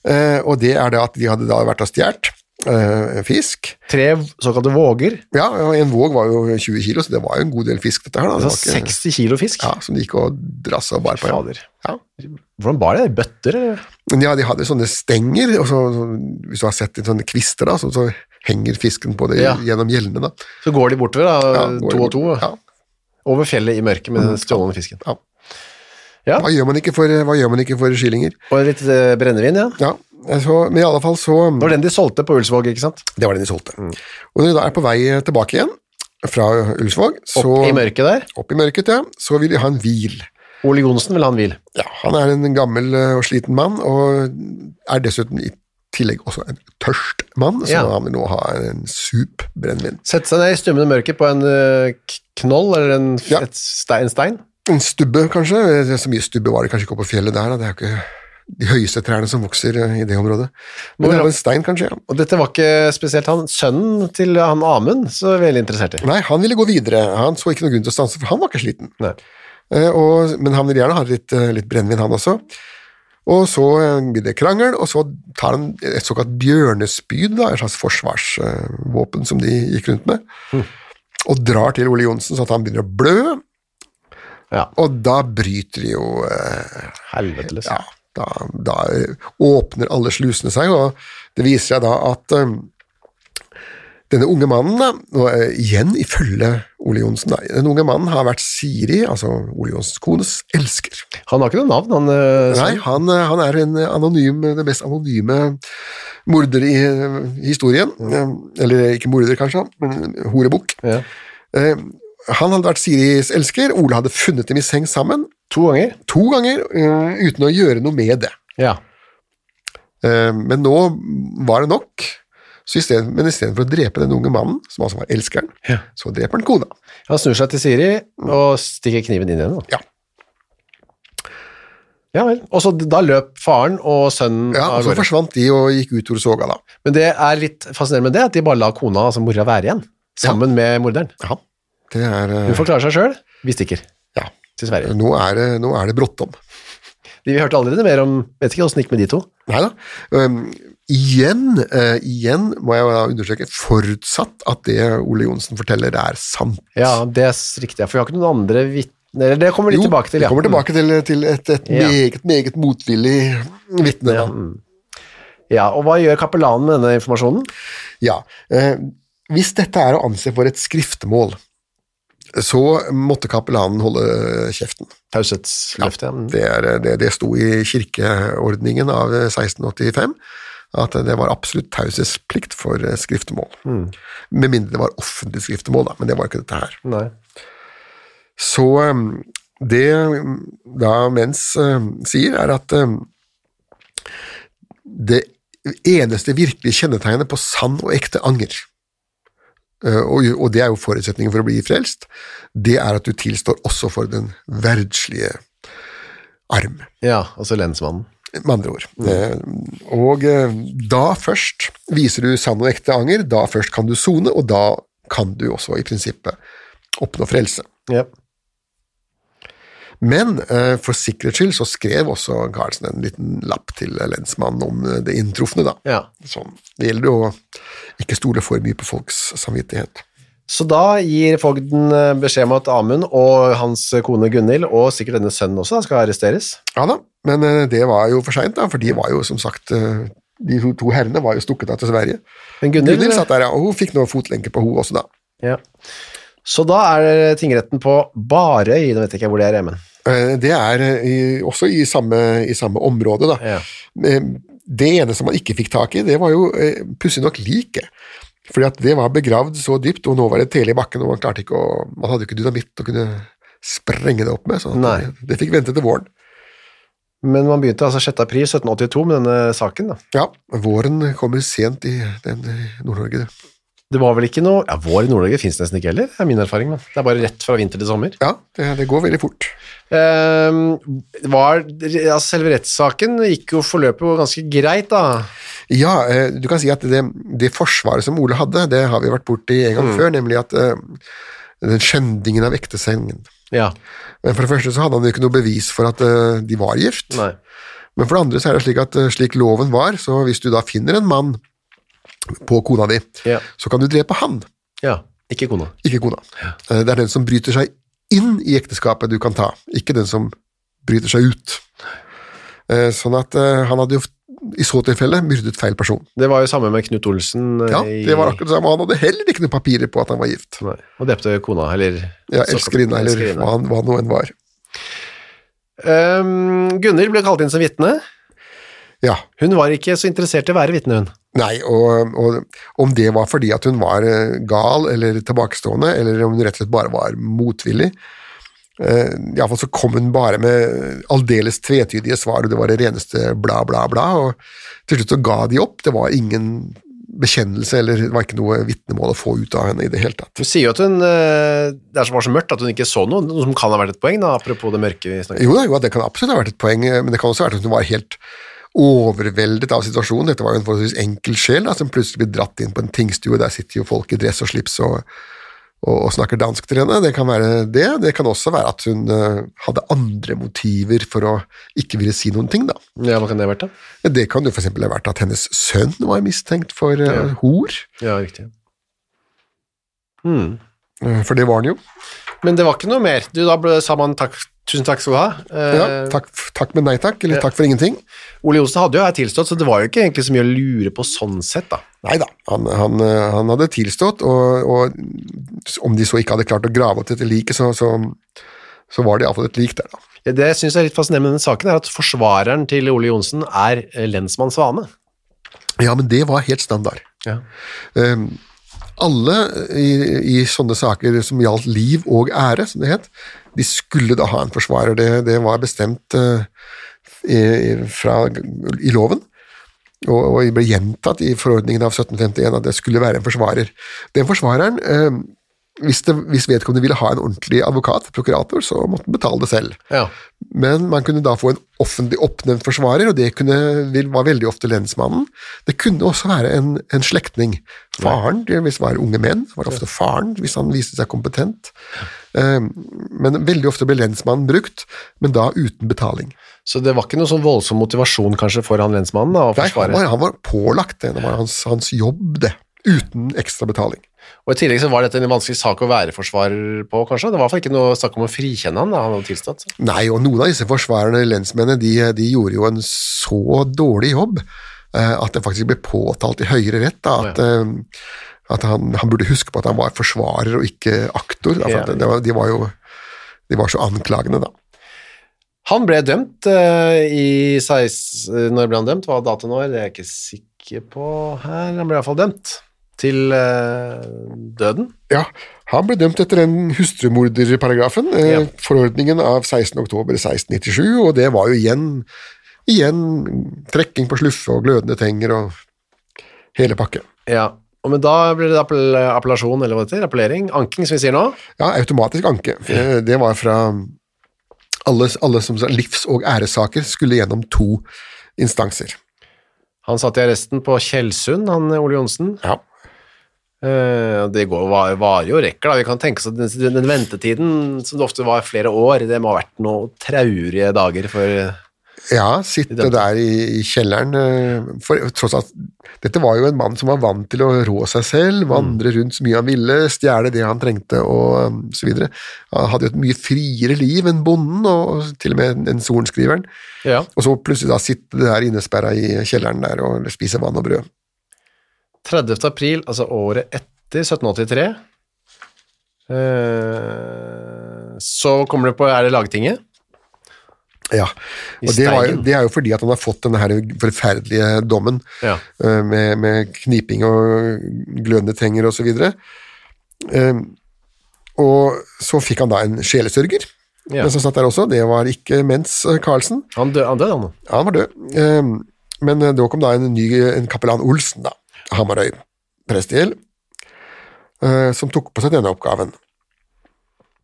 Speaker 3: eh, og det er det at de hadde da vært og stjålet eh, fisk.
Speaker 2: Tre såkalte våger,
Speaker 3: Ja, og en våg var jo 20 kilo, så det var jo en god del fisk dette her. Da. Det
Speaker 2: altså
Speaker 3: var ikke-
Speaker 2: 60 kilo fisk.
Speaker 3: ja, som de gikk og drassa og bar på. Ja.
Speaker 2: Fader.
Speaker 3: Ja.
Speaker 2: Hvordan bar det? Bøtter, eller?
Speaker 3: Men ja, de hadde sånne stenger, og så, så, hvis du har sett de sånne kvister, da, så, så henger fisken på det
Speaker 2: Ja.
Speaker 3: gjennom gjellene. Da.
Speaker 2: Så går de bortover, da,
Speaker 3: Ja, går
Speaker 2: to
Speaker 3: det
Speaker 2: og to,
Speaker 3: bort. Ja. Mm.
Speaker 2: over fjellet i mørket med den stjålne fisken.
Speaker 3: Ja.
Speaker 2: Ja.
Speaker 3: Hva, gjør man ikke for, hva gjør man ikke for skillinger?
Speaker 2: Og litt eh, brennevin, ja.
Speaker 3: Ja, så, men i alle fall så
Speaker 2: Det var Mm. den de solgte på Ulsvåg, ikke sant?
Speaker 3: Det var den de solgte. Og når de da er på vei tilbake igjen fra Ulsvåg,
Speaker 2: Opp
Speaker 3: så
Speaker 2: i mørket der.
Speaker 3: opp i mørket, ja, så vil de ha en hvil.
Speaker 2: Ole Johnsen vil ha en hvil.
Speaker 3: Ja, han er en gammel eh, og sliten mann, og er dessuten i tillegg også en tørst mann, så
Speaker 2: Ja.
Speaker 3: han vil nå ha en sup brennevin.
Speaker 2: Sette seg ned i stummende mørke på en eh, k- knoll eller en, f-
Speaker 3: Ja.
Speaker 2: et stein, en stein.
Speaker 3: En stubbe, kanskje? Eh, Så mye stubbe var det kanskje ikke oppe på fjellet der, da. det er jo ikke de høyeste trærne som vokser eh, i det området. Men det er jo en stein, kanskje? ja.
Speaker 2: Og dette var ikke spesielt han. Sønnen til han Amund så veldig interessert i.
Speaker 3: Nei, han ville gå videre. Han så ikke noen grunn til å stanse, for han var ikke sliten.
Speaker 2: Nei.
Speaker 3: Eh, Og, men han vil gjerne ha litt, eh, litt brennevin, han også. Og så eh, blir det krangel, og så tar han et såkalt bjørnespyd, da, et slags forsvarsvåpen som de gikk rundt med, og drar til Ole Johnsen så at han begynner å blø,
Speaker 2: Ja,
Speaker 3: og da bryter de jo eh,
Speaker 2: helvete løs.
Speaker 3: ja, da, da åpner alle slusene seg, og det viser seg da at um, denne unge mannen, da, og eh, igjen ifølge Ole Johnsen, da, den unge mannen har vært Siri, altså Ole Johnsens kones elsker.
Speaker 2: Han har ikke noe navn, han eh,
Speaker 3: Nei,
Speaker 2: sønnen.
Speaker 3: han, eh, han er en anonym, den mest anonyme morder i eh, historien. Eh, Eller ikke morder, kanskje, men horebukk.
Speaker 2: Ja.
Speaker 3: Eh, Han hadde vært Siris elsker, Ole hadde funnet dem i seng sammen,
Speaker 2: To ganger.
Speaker 3: to ganger, eh, uten å gjøre noe med det.
Speaker 2: Ja.
Speaker 3: Eh, Men nå var det nok. Så i stedet, men istedenfor å drepe den unge mannen, som altså var elskeren, så dreper han kona.
Speaker 2: Han snur seg til Siri og stikker kniven inn i henne. da.
Speaker 3: Ja.
Speaker 2: Ja vel. Og så d- da løp faren og sønnen
Speaker 3: Ja,
Speaker 2: av
Speaker 3: og Så
Speaker 2: gårde.
Speaker 3: forsvant de og gikk ut hvor soga, da.
Speaker 2: Men det er litt fascinerende med det, at de bare lar kona, altså mora, være igjen. Sammen med morderen.
Speaker 3: Ja, det er, eh,
Speaker 2: Hun får klare seg sjøl. Vi stikker
Speaker 3: ja.
Speaker 2: til Sverige.
Speaker 3: Nå, er det, nå er det bråttom.
Speaker 2: Vi hørte allerede mer om Vet ikke åssen det gikk med de to.
Speaker 3: Nei da. Um, igjen, eh, igjen må jeg da understreke, forutsatt at det Ole Johnsen forteller, er sant.
Speaker 2: Ja, det er s- riktig. For vi har ikke noen andre vitner Eller det kommer litt tilbake til.
Speaker 3: vi kommer tilbake til, til et, et
Speaker 2: Ja.
Speaker 3: meget, meget motvillig vitne. da.
Speaker 2: Ja, Og hva gjør kapellanen med denne informasjonen?
Speaker 3: Ja. Eh, hvis dette er å anse for et skriftemål, så måtte kapellanen holde kjeften.
Speaker 2: Taushetsløftet. Ja. mm.
Speaker 3: Det, er, det, det sto i kirkeordningen av 1685 at det var absolutt taushetsplikt for eh, skriftemål. Med mindre det var offentlig skriftemål, da, men det var ikke dette her.
Speaker 2: Nei.
Speaker 3: Så um, det um, da Mens um, sier, er at um, det eneste virkelige kjennetegnet på sann og ekte anger, uh, og, og det er jo forutsetningen for å bli frelst, det er at du tilstår også for den verdslige arm,
Speaker 2: Ja, altså lensmannen.
Speaker 3: med andre ord. Eh, og eh, da først viser du sann og ekte anger, da først kan du sone, og da kan du også i prinsippet oppnå frelse.
Speaker 2: Ja.
Speaker 3: Men eh, for sikkerhets skyld så skrev også Carlsen en liten lapp til lensmannen om eh, det inntrufne, da.
Speaker 2: ja.
Speaker 3: Sånn. Det gjelder jo å ikke stole for mye på folks samvittighet.
Speaker 2: Så da gir fogden eh, beskjed om at Amund og hans kone Gunhild, og sikkert denne sønnen også, da, skal arresteres.
Speaker 3: Ja da, men eh, det var jo for seint, da, for de var jo som sagt eh, De to, to herrene var jo stukket av til Sverige.
Speaker 2: Men Gunhild
Speaker 3: Gunhild satt der, ja, og hun fikk nå fotlenke på hun også, da.
Speaker 2: ja. Så da er tingretten på Barøy, nå vet jeg ikke hvor det er, men
Speaker 3: Eh, Det er eh, i, også i samme, i samme område, da.
Speaker 2: Ja.
Speaker 3: Eh, Det eneste man ikke fikk tak i, det var jo eh, pussig nok liket. Fordi at det var begravd så dypt, og nå var det tele i bakken, og man klarte ikke å Man hadde jo ikke dynamitt å kunne sprenge det opp med, så
Speaker 2: Nei.
Speaker 3: det, det fikk vente til våren.
Speaker 2: Men man begynte altså 6. april 1782 med denne saken, da.
Speaker 3: Ja, våren kommer sent i den i Nord-Norge, det.
Speaker 2: Det var vel ikke noe Ja, vår i Nord-Norge finnes nesten ikke heller, er min erfaring. Men. Det er bare rett fra vinter til sommer.
Speaker 3: Ja, det, det går veldig fort.
Speaker 2: Eh, var, altså selve rettssaken gikk jo forløpet jo ganske greit, da.
Speaker 3: Ja, eh, du kan si at det, det forsvaret som Ole hadde, det har vi vært borti en
Speaker 2: Mm.
Speaker 3: gang før, nemlig at eh, den skjendingen av ektesengen.
Speaker 2: Ja.
Speaker 3: Men for det første så hadde han jo ikke noe bevis for at eh, de var gift.
Speaker 2: Nei.
Speaker 3: Men for det andre så er det slik at eh, slik loven var, så hvis du da finner en mann på kona di,
Speaker 2: Ja.
Speaker 3: så kan du drepe han,
Speaker 2: ja. Ikke kona.
Speaker 3: ikke kona. Eh, Det er den som bryter seg inn i ekteskapet du kan ta, ikke den som bryter seg ut. Eh, Sånn at eh, han hadde jo i så tilfelle myrdet feil person.
Speaker 2: Det var jo samme med Knut Olsen. eh,
Speaker 3: Ja,
Speaker 2: i-
Speaker 3: det var akkurat det samme. Han hadde heller ikke noen papirer på at han var gift.
Speaker 2: Nei. Og drepte kona, eller
Speaker 3: Ja, elskerinne eller
Speaker 2: Elskerinne.
Speaker 3: hva han, hva han nå enn var.
Speaker 2: Um, Gunhild ble kalt inn som vitne.
Speaker 3: Ja,
Speaker 2: Hun var ikke så interessert i å være vitne, hun.
Speaker 3: Nei, og, og om det var fordi at hun var eh, gal eller tilbakestående, eller om hun rett og slett bare var motvillig, Eh, Iallfall så kom hun bare med aldeles tvetydige svar, og det var det reneste bla, bla, bla. Og til slutt så ga de opp. Det var ingen bekjennelse, eller det var ikke noe vitnemål å få ut av henne i det hele tatt.
Speaker 2: Du sier jo at hun, eh, det er så, var så mørkt at hun ikke så noe, noe som kan ha vært et poeng, da, apropos det mørke vi snakker om.
Speaker 3: Jo da, jo, da, det kan absolutt ha vært et poeng, eh, men det kan også ha vært at hun var helt overveldet av situasjonen. Dette var jo en forholdsvis enkel sjel da, som plutselig blir dratt inn på en tingstue. Der sitter jo folk i dress og slips og, og, og snakker dansk til henne. Det kan være det. Det kan også være at hun eh, hadde andre motiver for å ikke ville si noen ting, da.
Speaker 2: Ja, hva kan det ha vært da?
Speaker 3: Det kan jo for eksempel ha vært at hennes sønn var mistenkt for eh, hor,
Speaker 2: Ja, riktig.
Speaker 3: eh, for det var han jo.
Speaker 2: Hmm. Men det var ikke noe mer. Du, da ble, sa man takk, tusen takk skal du ha. Eh,
Speaker 3: Ja, takk, takk, men nei takk, eller
Speaker 2: ja.
Speaker 3: takk for ingenting.
Speaker 2: Ole Johnsen hadde jo her tilstått, så det var jo ikke egentlig så mye å lure på sånn sett, da.
Speaker 3: Nei da, han, han, eh, han hadde tilstått, og, og om de så ikke hadde klart å grave opp dette liket, så, så, så var det iallfall et lik der, da.
Speaker 2: Ja, Det jeg synes er litt fascinerende med denne saken, er at forsvareren til Ole Johnsen er eh, lensmann Svane.
Speaker 3: Ja, men det var helt standard.
Speaker 2: Ja.
Speaker 3: Um, alle i, i sånne saker som gjaldt liv og ære, som det het, de skulle da ha en forsvarer. Det, det var bestemt eh, i, i- fra, i loven, og, og det ble gjentatt i forordningen av 1751 at det skulle være en forsvarer. Den forsvareren, eh, hvis, det, hvis vedkommende ville ha en ordentlig advokat, prokurator, så måtte han betale det selv.
Speaker 2: Ja.
Speaker 3: Men man kunne da få en offentlig oppnevnt forsvarer, og det kunne, vil- var veldig ofte lensmannen. Det kunne også være en, en slektning. Faren, det- hvis det var unge menn, var det ofte faren hvis han viste seg kompetent. Eh, Men veldig ofte ble lensmannen brukt, men da uten betaling.
Speaker 2: Så det var ikke noe sånn voldsom motivasjon kanskje for han lensmannen da, å
Speaker 3: Nei, han
Speaker 2: forsvare.
Speaker 3: var, han var pålagt det, det var hans, hans jobb det, uten ekstra betaling.
Speaker 2: Og i tillegg så var dette en vanskelig sak å være forsvarer på, kanskje. Det var i hvert fall ikke noe snakk om å frikjenne han da han hadde tilstått.
Speaker 3: Nei, og noen av disse forsvarerne, lensmennene, de, de gjorde jo en så dårlig jobb eh, at det faktisk ble påtalt i høyere rett da, at, eh, at han, han burde huske på at han var forsvarer og ikke aktor. Da, for
Speaker 2: Ja.
Speaker 3: at det var, de var jo de var så anklagende, da.
Speaker 2: Han ble dømt eh, i 16... eh, Når ble han dømt? Hva datoen var? Det er jeg ikke sikker på her. Han ble i hvert fall dømt til eh, døden.
Speaker 3: Ja, han ble dømt etter den hustrumorderparagrafen, eh,
Speaker 2: Ja.
Speaker 3: forordningen av 16. oktober 1697, og det var jo igjen, igjen trekking på sluffe og glødende tenger og hele pakken.
Speaker 2: Ja. Og men da ble det appell appellasjon, eller hva det heter, appellering. Anking, som vi sier nå.
Speaker 3: Ja, automatisk anke. Eh, Det var fra alle, alle som sa livs- og æresaker skulle gjennom to instanser.
Speaker 2: Han satt i arresten på Kjellsund, han eh, Ole Johnsen.
Speaker 3: Ja.
Speaker 2: Eh, og det går, var, var jo rekker, da. Vi kan tenke oss at den, den ventetiden, som det ofte var flere år, det må ha vært noen traurige dager for
Speaker 3: Ja, sitte der i, i kjelleren eh, for, Tross alt, dette var jo en mann som var vant til å rå seg selv, vandre rundt så mye han ville, stjele det han trengte og um, så videre. Han hadde jo et mye friere liv enn bonden, og, og til og med en- en sorenskriveren.
Speaker 2: Ja.
Speaker 3: Og så plutselig da sitte der innesperra i kjelleren der og spise vann og brød.
Speaker 2: 30. april, altså året etter 1783, eh, så kommer det på Er det Lagtinget?
Speaker 3: Ja,
Speaker 2: I
Speaker 3: og det, var, jo-
Speaker 2: Steigen.
Speaker 3: det er jo fordi at han har fått denne her forferdelige dommen
Speaker 2: Ja.
Speaker 3: eh, med, med kniping og glødende tenger osv. Og, så videre. Eh, og så fikk han da en sjelesørger,
Speaker 2: Ja.
Speaker 3: den som satt der også. Det var ikke mens eh, Carlsen.
Speaker 2: Han døde, han døde, han nå.
Speaker 3: Ja, han var død. Eh, Men eh, da kom da en ny en kapellan Olsen, da, Hamarøy prestegjeld, eh, som tok på seg denne oppgaven.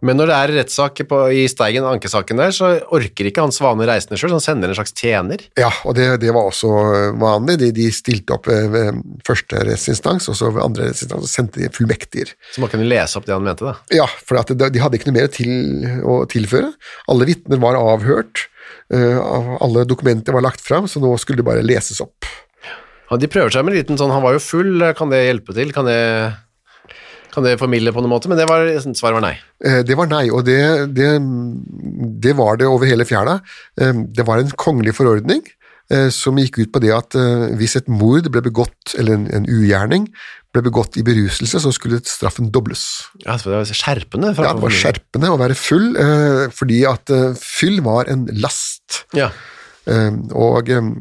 Speaker 2: Men når det er rettssak på- i Steigen, ankesaken der, så orker ikke han Svane reisende sjøl, så han sender en slags tjener.
Speaker 3: Ja, og det, det var også eh, vanlig. De, de stilte opp ved, ved første rettsinstans, og så ved andre rettsinstans og sendte de fullmektiger.
Speaker 2: Så man kunne lese opp det han mente, da.
Speaker 3: Ja, for at de, de hadde ikke noe mer til, å tilføre. Alle vitner var avhørt, eh, av- alle dokumenter var lagt fram, så nå skulle det bare leses opp.
Speaker 2: Han, de prøver seg med en liten sånn Han var jo full, kan det hjelpe til? Kan det, kan det formidle på noen måte? Men det var, svaret var nei.
Speaker 3: Eh, Det var nei, og det, det, det var det over hele fjæra. Eh, Det var en kongelig forordning eh, som gikk ut på det at eh, hvis et mord ble begått, eller en, en ugjerning, ble begått i beruselse, så skulle straffen dobles.
Speaker 2: Ja, så det var skjerpende. fra-
Speaker 3: Ja, det var skjerpende å være full, eh, fordi at eh, fyll var en last.
Speaker 2: Ja.
Speaker 3: Eh, og eh,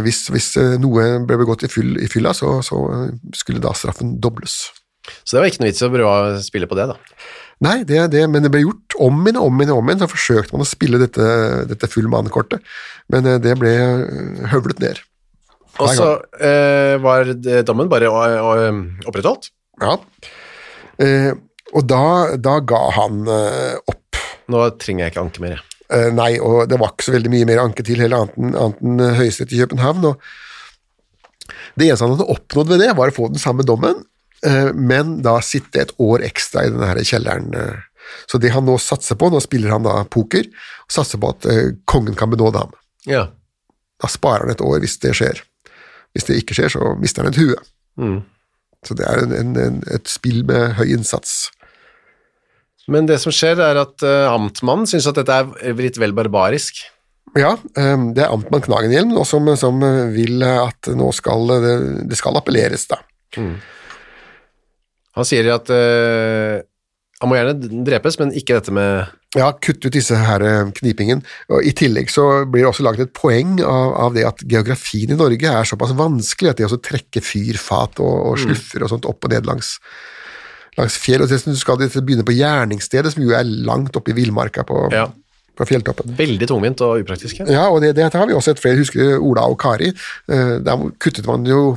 Speaker 3: hvis, hvis eh, noe ble begått i, fyll, i fylla, så, så eh, skulle da straffen dobles.
Speaker 2: Så det var ikke noe vits i å prøve å spille på det, da.
Speaker 3: Nei, det, det, men det ble gjort om igjen og om igjen. og om igjen, Så forsøkte man å spille dette, dette full mannekortet, men eh, det ble eh, høvlet ned.
Speaker 2: Og så eh, var det- dommen bare å- å- opprettholdt.
Speaker 3: Ja. Eh, og da, da ga han eh, opp.
Speaker 2: Nå trenger jeg ikke anke mer. jeg.
Speaker 3: Eh, nei, og det var ikke så veldig mye mer anke til heller, annet enn- annet enn eh, Høyesterett i København. Og det eneste han hadde oppnådd ved det, var å få den samme dommen, eh, men da sitte et år ekstra i denne her kjelleren. eh. Så det han nå satser på, nå spiller han da poker, og satser på at eh, kongen kan benåde ham.
Speaker 2: Ja.
Speaker 3: Da sparer han et år hvis det skjer. Hvis det ikke skjer, så mister han et hue. Så det er en, en, en, et spill med høy innsats.
Speaker 2: Men det som skjer, er at eh, amtmannen syns at dette er litt vel barbarisk.
Speaker 3: Ja, ehm, det er Amtmann Knagenhjelm nå som, som vil at nå skal det, det skal appelleres, da.
Speaker 2: Han sier at eh, han må gjerne drepes, men ikke dette med
Speaker 3: Ja, kutt ut disse her eh, knipingen. Og I tillegg så blir det også laget et poeng av, av det at geografien i Norge er såpass vanskelig at det også trekker fyr, fat og, og sluffer og sånt opp og ned langs, langs fjell. Og dessuten skal de begynne på gjerningsstedet, som jo er langt oppe i villmarka på,
Speaker 2: Ja.
Speaker 3: på fjelltoppen.
Speaker 2: Veldig tungvint og upraktisk. ja.
Speaker 3: Ja, og det, det har vi også sett flere. Husker du Ola og Kari? Eh, Der kuttet man jo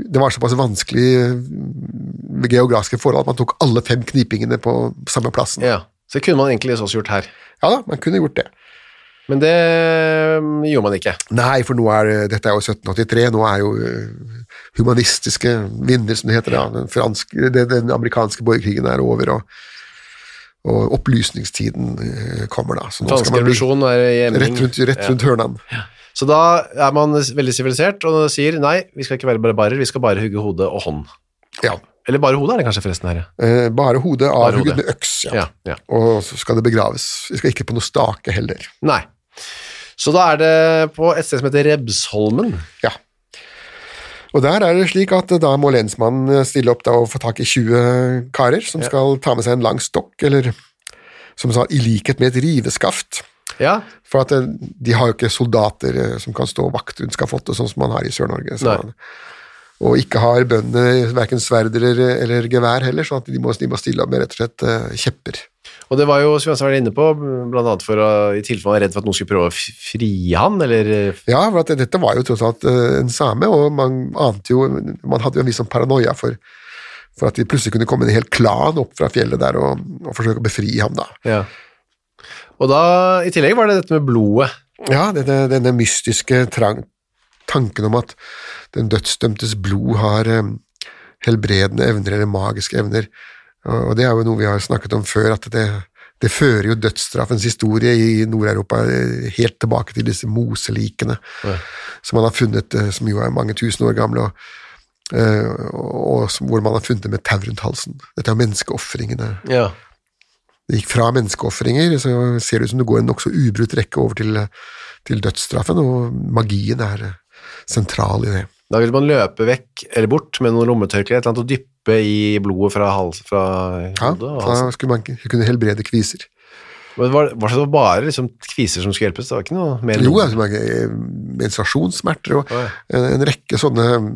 Speaker 3: Det var såpass vanskelig eh, med geografiske forhold at man tok alle fem knipingene på samme plassen.
Speaker 2: Ja. Så det kunne man egentlig også gjort her.
Speaker 3: Ja da, man kunne gjort det.
Speaker 2: Men det mm, gjorde man ikke.
Speaker 3: Nei, for nå er, det- dette er jo 1783. Nå er jo eh, humanistiske vinner, som det heter. Da. Den, franske, den, den amerikanske borgerkrigen er over, og, og opplysningstiden eh, kommer da. Så nå
Speaker 2: Fransk
Speaker 3: skal man bli
Speaker 2: revolusjon er i emning.
Speaker 3: rett rundt, rett rundt hørnan.
Speaker 2: Så da er man veldig sivilisert og sier nei, vi skal ikke være barbarer, vi skal bare hugge hode og hånd.
Speaker 3: Ja.
Speaker 2: Eller bare hodet er det kanskje forresten her, ja.
Speaker 3: Eh, Bare hodet
Speaker 2: Bare
Speaker 3: avhugget
Speaker 2: hodet.
Speaker 3: med øks.
Speaker 2: Ja, ja.
Speaker 3: og så skal det begraves. Vi skal ikke på noe stake heller.
Speaker 2: Nei. Så da er det på et sted som heter Rebsholmen.
Speaker 3: Ja. Og der er det slik at da må lensmannen stille opp da og få tak i 20 karer som skal ta med seg en lang stokk, eller som sa, i likhet med et riveskaft.
Speaker 2: Ja,
Speaker 3: For at eh, de har jo ikke soldater eh, som kan stå vakt rundt skafottet, sånn som man har i Sør-Norge. så
Speaker 2: Nei.
Speaker 3: man- Og ikke har bøndene verken sverd eller, eller gevær heller, sånn at de må, de må stille opp med rett og slett eh, kjepper.
Speaker 2: og det var jo, som jeg også var inne på, blant annet for å, i tilfelle man var redd for at noen skulle prøve å f- fri han, eller
Speaker 3: Ja, for at dette var jo tross alt eh, en same, og man ante jo Man hadde jo en viss sånn paranoia for, for at de plutselig kunne komme en hel klan opp fra fjellet der og, og forsøke å befri ham, da.
Speaker 2: Ja. Og da, i tillegg var det dette med blodet.
Speaker 3: Ja, denne, denne mystiske trang, tanken om at den dødsdømtes blod har eh, helbredende evner, eller magiske evner, og og det er jo noe vi har snakket om før, at det, det fører jo dødsstraffens historie i Nord-Europa eh, helt tilbake til disse moselikene som man har funnet, eh, som jo er mange tusen år gamle, og, eh, og, og som- hvor man har funnet det med tau rundt halsen. Dette er jo menneskeofringene.
Speaker 2: Ja.
Speaker 3: Det gikk fra menneskeofringer, så ser det ut som det går en nokså ubrutt rekke over til, til dødsstraffen, og magien er eh, sentral i det.
Speaker 2: Da ville man løpe vekk, eller bort, med noen lommetørklær, et eller annet, og dyppe i blodet fra, hals, fra
Speaker 3: Ja,
Speaker 2: hodet. og halsen.
Speaker 3: da skulle man ikke- kunne helbrede kviser.
Speaker 2: Men var, var det bare liksom kviser som skulle hjelpes? Det var ikke noe mer?
Speaker 3: Jo, altså, man- eh, menstruasjonssmerter og
Speaker 2: Å, ja.
Speaker 3: en, en rekke sånne eh,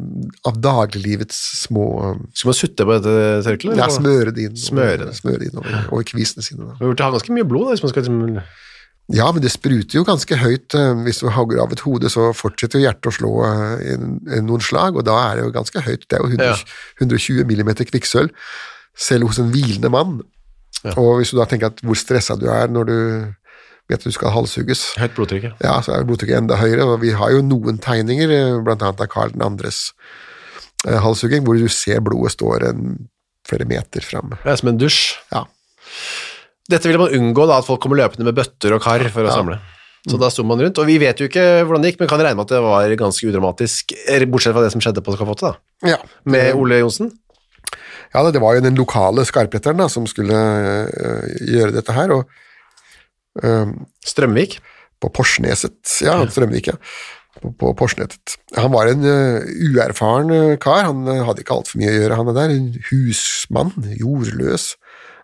Speaker 3: av dagliglivets små eh,
Speaker 2: Skulle man sutte på dette tørkleet?
Speaker 3: Ja,
Speaker 2: eller?
Speaker 3: smøre det inn,
Speaker 2: Smøre.
Speaker 3: smøre det inn over, over kvisene sine. Da.
Speaker 2: Man burde ha ganske mye blod, da, hvis man skal liksom
Speaker 3: Ja, men det spruter jo ganske høyt. eh, Hvis du hogger av et hode, så fortsetter jo hjertet å slå eh, en- en- noen slag, og da er det jo ganske høyt. Det er jo 100,
Speaker 2: Ja.
Speaker 3: 120 millimeter kvikksølv, selv hos en hvilende mann. Og hvis du da tenker at hvor stressa du er når du vet at du skal halshugges,
Speaker 2: Høyt blodtrykk, ja.
Speaker 3: ja, så er blodtrykket enda høyere, og vi har jo noen tegninger, eh, blant annet av Karl 2.s halshugging, hvor du ser blodet står en, flere meter fram.
Speaker 2: Det er som en dusj.
Speaker 3: Ja.
Speaker 2: Dette ville man unngå, da, at folk kommer løpende med bøtter og kar for å samle. Så da sto man rundt, og vi vet jo ikke hvordan det gikk, men kan regne med at det var ganske udramatisk, eh, bortsett fra det som skjedde på Skafottet, da.
Speaker 3: Ja.
Speaker 2: Med Ole Johnsen.
Speaker 3: Ja, da, det var jo den lokale skarpretteren da, som skulle øh, gjøre dette her, og øh,
Speaker 2: Strømvik.
Speaker 3: på Porsneset, ja, Strømvik, ja, på, på Porsnetet. Han var en øh, uerfaren øh, kar, han øh, hadde ikke altfor mye å gjøre, han er der, en husmann, jordløs,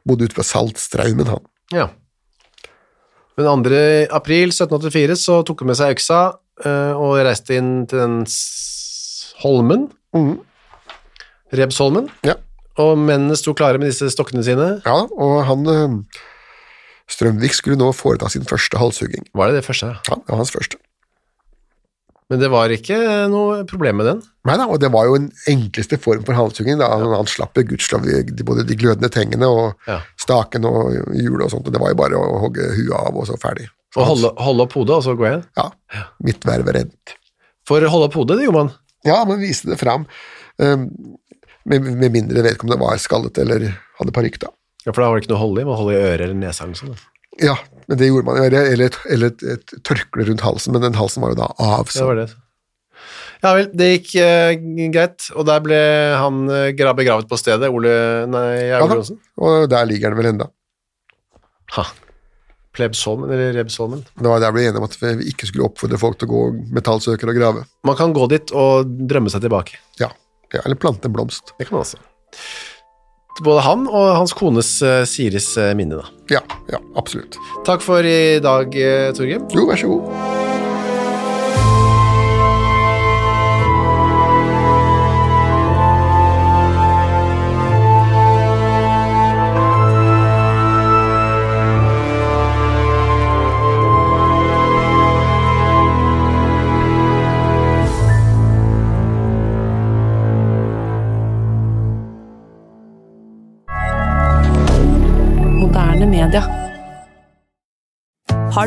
Speaker 3: bodde ute på Saltstraumen, han.
Speaker 2: Ja. Men 2. april 1784 så tok hun med seg øksa eh, og reiste inn til den s- holmen. Rebsholmen.
Speaker 3: Ja.
Speaker 2: og mennene sto klare med disse stokkene sine.
Speaker 3: Ja, og han eh, Strømvik skulle nå foreta sin første halshugging.
Speaker 2: Var det det første? ja?
Speaker 3: Ja, det var hans første.
Speaker 2: Men det var ikke noe problem med den.
Speaker 3: Nei da, og det var jo den enkleste form for halshugging. Da. Han, han slapp jo gudskjelov de- de- både de glødende tengene og
Speaker 2: Ja.
Speaker 3: staken og hjulet og sånt, og det var jo bare å hogge huet av og så ferdig.
Speaker 2: Å holde, holde opp hodet, og så gå igjen.
Speaker 3: Ja, mitt verv er rent.
Speaker 2: For å holde opp hodet, det gjorde man.
Speaker 3: Ja, man viste det fram, um, med, med mindre vedkommende var skallet eller hadde parykk da.
Speaker 2: Ja, For da var det ikke noe å holde i. Man holder i øret eller nesa eller noe sånt. da.
Speaker 3: Ja, men det gjorde man jo, eller, eller, et, eller et, et tørkle rundt halsen, men den halsen var jo da av.
Speaker 2: Det
Speaker 3: Så.
Speaker 2: var det. Ja vel, det gikk eh, greit, og der ble han eh, gra- begravet på stedet. Ole Nei,
Speaker 3: Ja da,
Speaker 2: Aule Johnsen.
Speaker 3: og der ligger den vel enda.
Speaker 2: Ha. Plebsholmen, eller Rebsholmen.
Speaker 3: Det var der vi ble enige om at vi ikke skulle oppfordre folk til å gå metallsøker og grave.
Speaker 2: Man kan gå dit og drømme seg tilbake.
Speaker 3: Ja, ja eller plante en blomst.
Speaker 2: Det kan man også. Både han og hans kones eh, Siris eh, minne, da.
Speaker 3: Ja, ja, absolutt.
Speaker 2: Takk for i dag, eh, Torgrim.
Speaker 3: Jo, vær så god.
Speaker 4: Moderne media.
Speaker 5: Har